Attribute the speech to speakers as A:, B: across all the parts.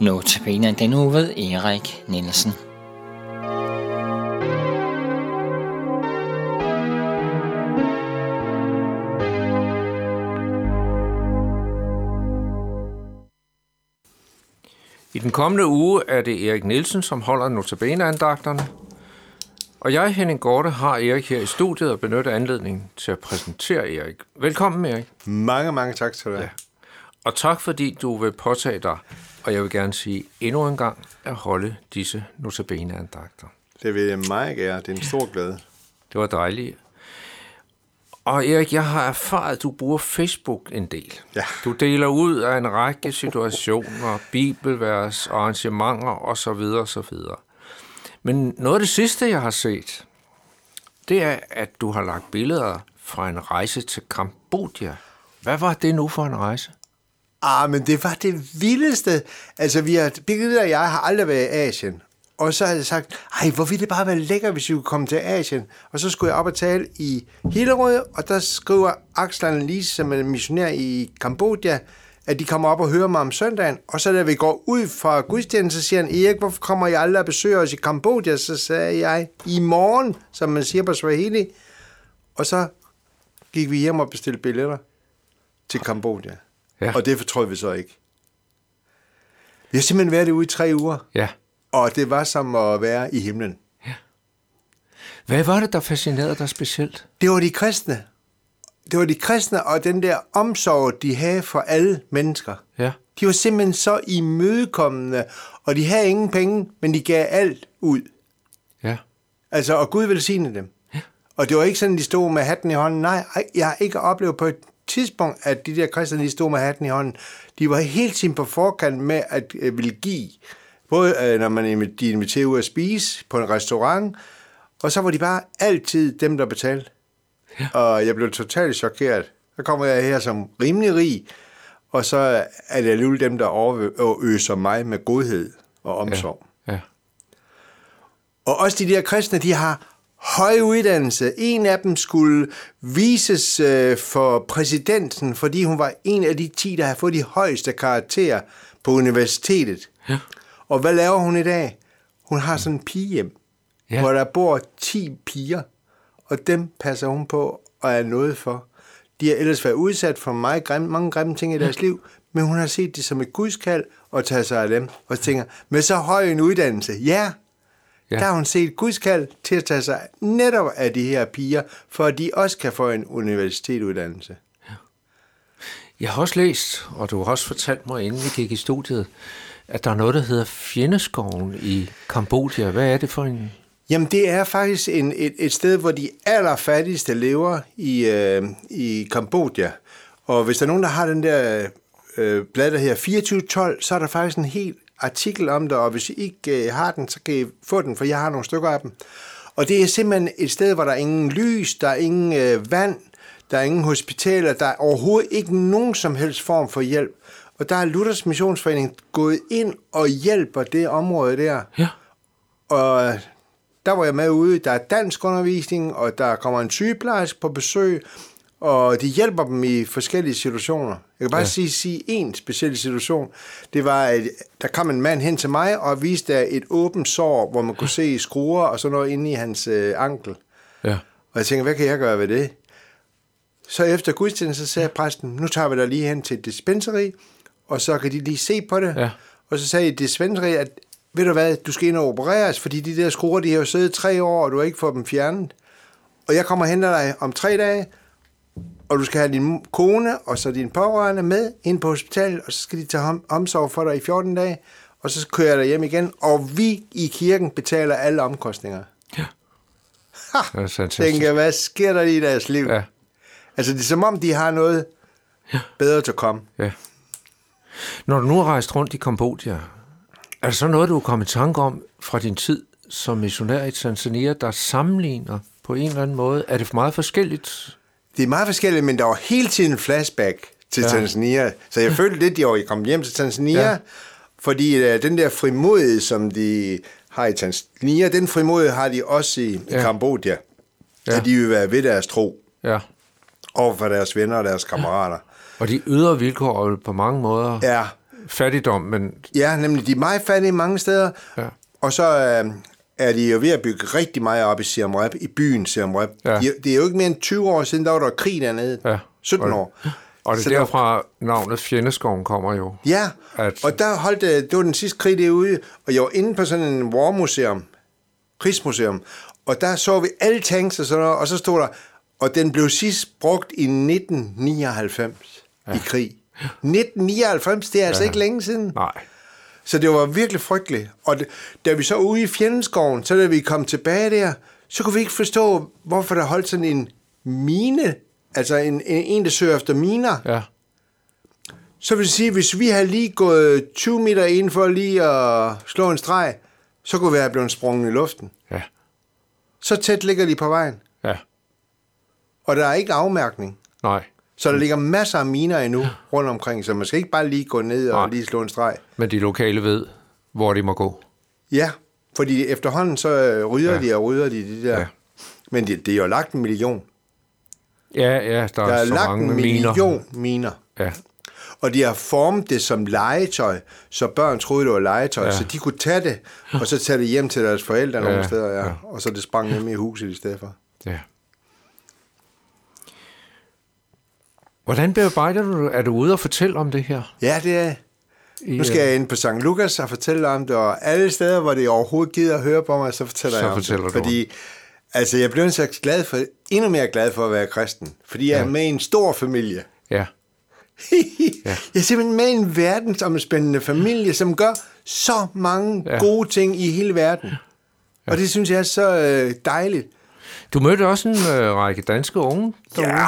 A: Notabene den uge ved Erik Nielsen.
B: I den kommende uge er det Erik Nielsen, som holder notabene-andagterne. Og jeg, Henning Gorte, har Erik her i studiet og benytter anledningen til at præsentere Erik. Velkommen, Erik.
C: Mange, mange tak til dig. Ja.
B: Og tak, fordi du vil påtage dig, og jeg vil gerne sige endnu en gang, at holde disse notabene-andagter.
C: Det vil jeg meget gerne. Det er en stor glæde.
B: Det var dejligt. Og Erik, jeg har erfaret, at du bruger Facebook en del.
C: Ja.
B: Du deler ud af en række situationer, bibelvers, arrangementer osv. osv. Men noget af det sidste, jeg har set, det er, at du har lagt billeder fra en rejse til Kambodja. Hvad var det nu for en rejse?
C: Ah, men det var det vildeste. Altså, vi har, Birgitte og jeg har aldrig været i Asien. Og så havde jeg sagt, ej, hvor ville det bare være lækkert, hvis vi kunne komme til Asien. Og så skulle jeg op og tale i Hillerød, og der skriver Axlan Lise, som er missionær i Kambodja, at de kommer op og hører mig om søndagen. Og så da vi går ud fra gudstjenesten, så siger han, Erik, hvorfor kommer I aldrig og besøger os i Kambodja? Så sagde jeg, i morgen, som man siger på Swahili. Og så gik vi hjem og bestilte billetter til Kambodja.
B: Ja.
C: Ja. Og det fortrød vi så ikke. Vi har simpelthen været derude i tre uger,
B: Ja.
C: og det var som at være i himlen.
B: Hvad var det, der fascinerede dig specielt?
C: Det var de kristne. Det var de kristne og den der omsorg, de havde for alle mennesker.
B: Ja.
C: De var simpelthen så imødekommende, og de havde ingen penge, men de gav alt ud.
B: Ja.
C: Altså, og Gud velsignede dem. Ja. Og det var ikke sådan, de stod med hatten i hånden. Nej, ej, jeg har ikke oplevet på et tidspunkt, at de der kristne, de stod med hatten i hånden. De var helt tiden på forkant med at øh, ville give. Både øh, når man invi- de inviterede ud at spise på en restaurant, og så var de bare altid dem, der betalte. Ja. Og jeg blev totalt chokeret. Så kommer jeg her som rimelig rig, og så er det alligevel dem, der overøser mig med godhed og omsorg. Ja.
B: Ja.
C: Og også de der kristne, de har høj uddannelse. En af dem skulle vises øh, for præsidenten, fordi hun var en af de ti, der har fået de højeste karakterer på universitetet. Ja. Og hvad laver hun i dag? Hun har sådan en pigehjem,
B: Ja.
C: ja. hvor der bor 10 piger, og dem passer hun på og er noget for. De har ellers været udsat for meget grimme, mange grimme ting i deres liv, men hun har set det som et gudskald og taget sig af dem. Og tænker, med så høj en uddannelse, ja,
B: Ja.
C: Ja. Der har hun set Guds kald til at tage sig netop af de her piger, for at de også kan få en universitetsuddannelse.
B: Jeg har også læst, og du har også fortalt mig, inden vi gik i studiet, at der er noget, der hedder Fjendeskoven i Kambodja. Hvad er det for en...
C: Jamen, det er faktisk en, et, et sted, hvor de allerfattigste lever i, øh, i Kambodja. Og hvis der er nogen, der har den der øh, blad, der hedder 2412, så er der faktisk en hel artikel om det, og hvis I ikke øh, har den, så kan I få den, for jeg har nogle stykker af dem. Og det er simpelthen et sted, hvor der er ingen lys, der er ingen øh, vand, der er ingen hospitaler, der er overhovedet ikke nogen som helst form for hjælp. Og der er Luthers Missionsforening gået ind og hjælper det område der.
B: Ja.
C: Og øh, der var jeg med ude. Der er dansk undervisning, og der kommer en sygeplejerske på besøg, og de hjælper dem i forskellige situationer. Jeg kan bare ja. sige, sige en speciel situation. Det var, at øh, der kom en mand hen til mig og viste et åbent sår, hvor man kunne se skruer og sådan noget inde i hans øh, ankel.
B: Ja.
C: Og jeg tænker, hvad kan jeg gøre ved det? Så efter gudstjenesten, så sagde præsten, nu tager vi dig lige hen til et dispenseri, og så kan de lige se på det.
B: Ja.
C: Og så sagde dispenseri, at ved du hvad, du skal ind og opereres, fordi de der skruer, de har jo siddet i tre år, og du har ikke fået dem fjernet. Og jeg kommer og henter dig om tre dage, og du skal have din kone og så din pårørende med ind på hospitalet, og så skal de tage hom- omsorg for dig i 14 dage, og så kører jeg dig hjem igen, og vi i kirken betaler alle omkostninger.
B: Det er fantastisk.
C: Tænker, hvad sker der i deres liv?
B: Ja,
C: Altså, det er som om, de har noget bedre til at komme.
B: ja. Når du nu har rejst rundt i Kambodja, er der så noget, du er kommet i tanke om fra din tid som missionær i Tanzania, der sammenligner på en eller anden måde? Er det meget forskelligt?
C: Det er meget forskelligt, men der var hele tiden en flashback til
B: Ja.
C: ja. Tanzania. Så jeg følte lidt, at jeg kom hjem til Tanzania,
B: Ja.
C: ja. fordi uh, den der frimodighed, som de har i Tanzania, den frimodighed har de også i, ja.
B: Ja.
C: i Kambodja.
B: Ja.
C: Ja. At de vil være ved deres tro
B: Ja.
C: over for deres venner og deres kammerater.
B: Og de ydre vilkår er jo på mange måder
C: Ja,
B: fattigdom, men
C: Ja, nemlig de er meget fattige mange steder.
B: Ja.
C: Og så øh, er de jo ved at bygge rigtig meget op i Siem Reap, i byen Siem Reap.
B: Ja.
C: De- Det er jo ikke mere end 20 år siden, der var der krig dernede.
B: Ja.
C: 17 år.
B: og det
C: Så
B: er
C: der-
B: derfra navnet Fjendeskoven kommer jo.
C: Ja,
B: At-
C: og der holdt, øh, det var den sidste krig derude, og jeg var inde på sådan en warmuseum, krigsmuseum, og der så vi alle tanks og sådan noget, og så stod der, og den blev sidst brugt i 1999 ja. i krig. 1999, det er altså ja. ikke længe siden.
B: Nej.
C: Så det var virkelig frygteligt. Og det, da vi så var ude i fjendeskoven, så da vi kom tilbage der, så kunne vi ikke forstå, hvorfor der holdt sådan en mine, altså en, en, en der søger efter miner.
B: Ja.
C: Så vil det sige, hvis vi havde lige gået 20 meter inden for lige at slå en streg, så kunne vi have blevet sprunget i luften.
B: Ja.
C: Så tæt ligger de på vejen,
B: Ja.
C: og der er ikke afmærkning.
B: Nej.
C: Så der ligger masser af miner endnu rundt omkring, så man skal ikke bare lige gå ned og
B: Nej.
C: lige slå en streg.
B: Men de lokale ved, hvor de må gå.
C: Ja, fordi efterhånden så øh, rydder
B: Ja.
C: ja. de og rydder de det der.
B: Ja.
C: Ja. Men det, det er jo lagt en million.
B: Ja, ja, der,
C: Der
B: er
C: er
B: så
C: lagt
B: mange
C: en
B: miner.
C: million miner. miner.
B: Ja.
C: Og de har formet det som legetøj, så børn troede, det var legetøj, ja. så de kunne tage det, og så tage det hjem til deres forældre ja, nogle steder, ja.
B: ja.
C: Ja. og så det sprang dem i huset i stedet for.
B: ja. Hvordan bearbejder du det? Er du ude og fortælle om det her?
C: Ja, det er...
B: I,
C: Nu skal jeg ind på St. Lukas og fortælle om det, og alle steder, hvor det overhovedet gider at høre på mig, så fortæller
B: Så
C: jeg om
B: fortæller
C: det.
B: du om
C: Fordi, altså, jeg blev så glad for, endnu mere glad for at være kristen, fordi jeg er med i en stor familie.
B: øh, Ja.
C: ja. Jeg er simpelthen med i en verdensomspændende familie, som gør så mange
B: Ja.
C: ja. gode ting i hele verden. Ja. Og det synes jeg er så øh, dejligt.
B: Du mødte også en øh, række danske unge derude.
C: Ja,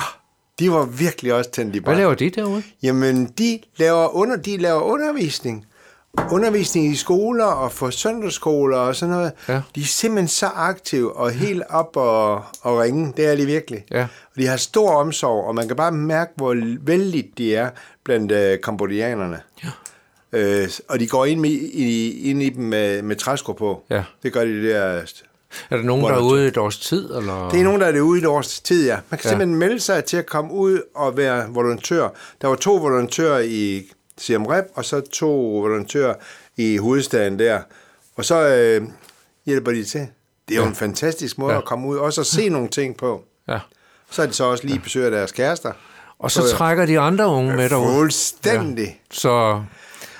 C: de var virkelig også tændt i
B: Hvad
C: brand.
B: laver de derude?
C: Jamen, de laver, under, de laver undervisning. Undervisning i skoler og for søndagsskoler og sådan noget.
B: Ja.
C: De er simpelthen så aktive og helt op og, og ringe. Det er de virkelig.
B: Ja.
C: Og de har stor omsorg, og man kan bare mærke, hvor vældigt de er blandt øh, kambodianerne. Ja. Øh, og de går ind, med, i, ind i dem med, med træsko på.
B: Ja.
C: Det gør de der
B: Er der nogen,
C: Hvor
B: der
C: er
B: er
C: det?
B: ude et års tid? Eller?
C: det er nogen, der er det ude i et års tid, ja. Man kan
B: Ja.
C: ja. simpelthen melde sig til at komme ud og være volontør. Der var to volontører i Siem Reap, og så to volontører i hovedstaden der. Og så øh, hjælper de til. Det er jo en fantastisk måde
B: Ja.
C: ja. at komme ud, også at se nogle ting på.
B: Ja.
C: Så er de så også lige besøger deres kærester.
B: Og så trækker de andre unge med derude.
C: Fuldstændig.
B: Så,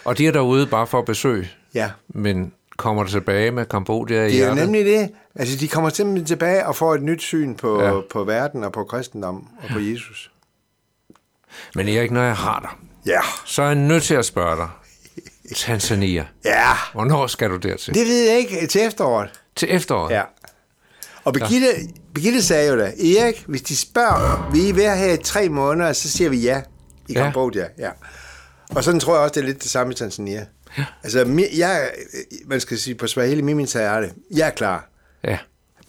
B: og de er derude bare for at besøge,
C: Ja. ja.
B: men kommer tilbage med Kambodja i
C: Det er
B: hjertet.
C: nemlig det. Altså, de kommer simpelthen tilbage og får et nyt syn på,
B: Ja.
C: ja. på verden og på kristendommen og på Jesus.
B: Men Erik, når jeg har dig,
C: Ja.
B: så er jeg nødt til at spørge dig. Tanzania.
C: Ja.
B: Hvornår skal du dertil?
C: Det ved jeg ikke til efteråret.
B: Til efteråret?
C: Ja. Og Birgitte, Birgitte sagde jo da, Erik, hvis de spørger, vil I være her i tre måneder, så siger vi ja i
B: Ja.
C: Kambodja. Ja. Og sådan tror jeg også, det er lidt det samme i Tanzania. Ja. Altså, mi- jeg, man skal sige på Swahili, min sagde jeg det. Jeg er klar.
B: ja.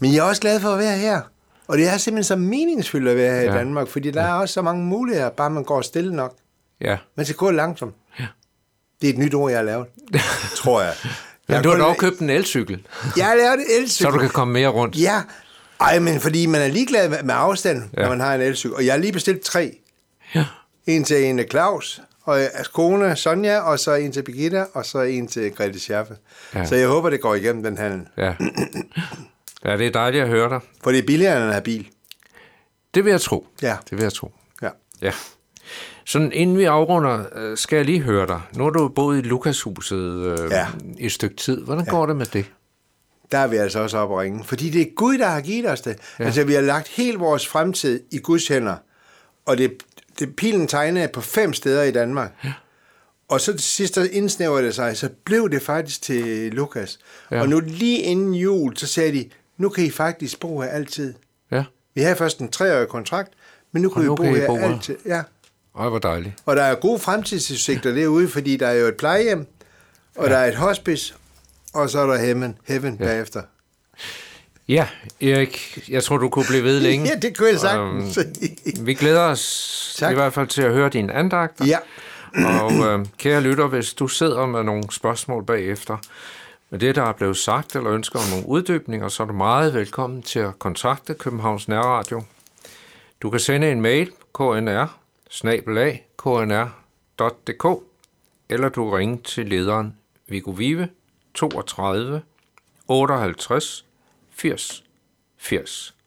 C: Men jeg er også glad for at være her. Og det er simpelthen så meningsfyldt at være her
B: Ja.
C: ja. i Danmark, fordi der er også så mange muligheder, bare man går stille nok.
B: Ja.
C: Man skal gå langsomt. Ja. Det er et nyt ord, jeg har lavet, tror jeg.
B: Men
C: jeg
B: du har
C: kun-
B: dog købt en elcykel,
C: Jeg har lavet et elcykel.
B: så du kan komme mere rundt.
C: Ja, ej, men fordi man er ligeglad med- med afstand, ja.
B: Ja.
C: når man har en elcykel. Og jeg har lige bestilt tre.
B: Ja.
C: En til en af Claus, og øh, kone Sonja, og så en til Birgitta, og så en til Grete Schaffe.
B: Ja.
C: Ja. Så jeg håber, det går igennem den handel.
B: Ja. ja, det er dejligt at høre dig.
C: For det er billigere end at have bil.
B: Det vil jeg tro.
C: Ja.
B: Det vil jeg tro.
C: Ja.
B: Ja. Sådan inden vi afrunder, øh, skal jeg lige høre dig. Nu har du boet i Lukashuset øh, ja.
C: Ja.
B: et stykke tid. Hvordan ja. går det med det?
C: Der er vi altså også oppe at ringe. Fordi det er Gud, der har givet os det. Ja. Altså, vi har lagt hele vores fremtid i Guds hænder. Og det, det pilen tegnede på fem steder i Danmark. Ja. Og så til sidst, der indsnævrede det sig, så blev det faktisk til Lukas.
B: Ja.
C: Ja. Og nu lige inden jul, så sagde de, nu kan I faktisk bo her altid.
B: Ja.
C: Vi havde først en treårig kontrakt, men nu kan
B: nu
C: I bo
B: kan I
C: her
B: bo her.
C: altid. Ja.
B: Ej, hvor dejligt.
C: Og der er gode fremtidsudsigter derude, fordi der er jo et plejehjem, og ja. der er et hospice, og så er der heaven, heaven ja. bagefter.
B: Ja, Erik, jeg tror, du kunne blive ved længe. Øhm,
C: Ja, det kunne jeg
B: Ähm,
C: sagtens.
B: Vi glæder os tak.
C: Tak.
B: i hvert fald til at høre dine andagter.
C: Ja.
B: Og øh, kære lytter, hvis du sidder med nogle spørgsmål bagefter med det, der er blevet sagt, eller ønsker om nogle uddybninger, så er du meget velkommen til at kontakte Københavns Nærradio. Du kan sende en mail knr knr.dk eller du kan ringe til lederen Viggo Vive 32 58 80 80.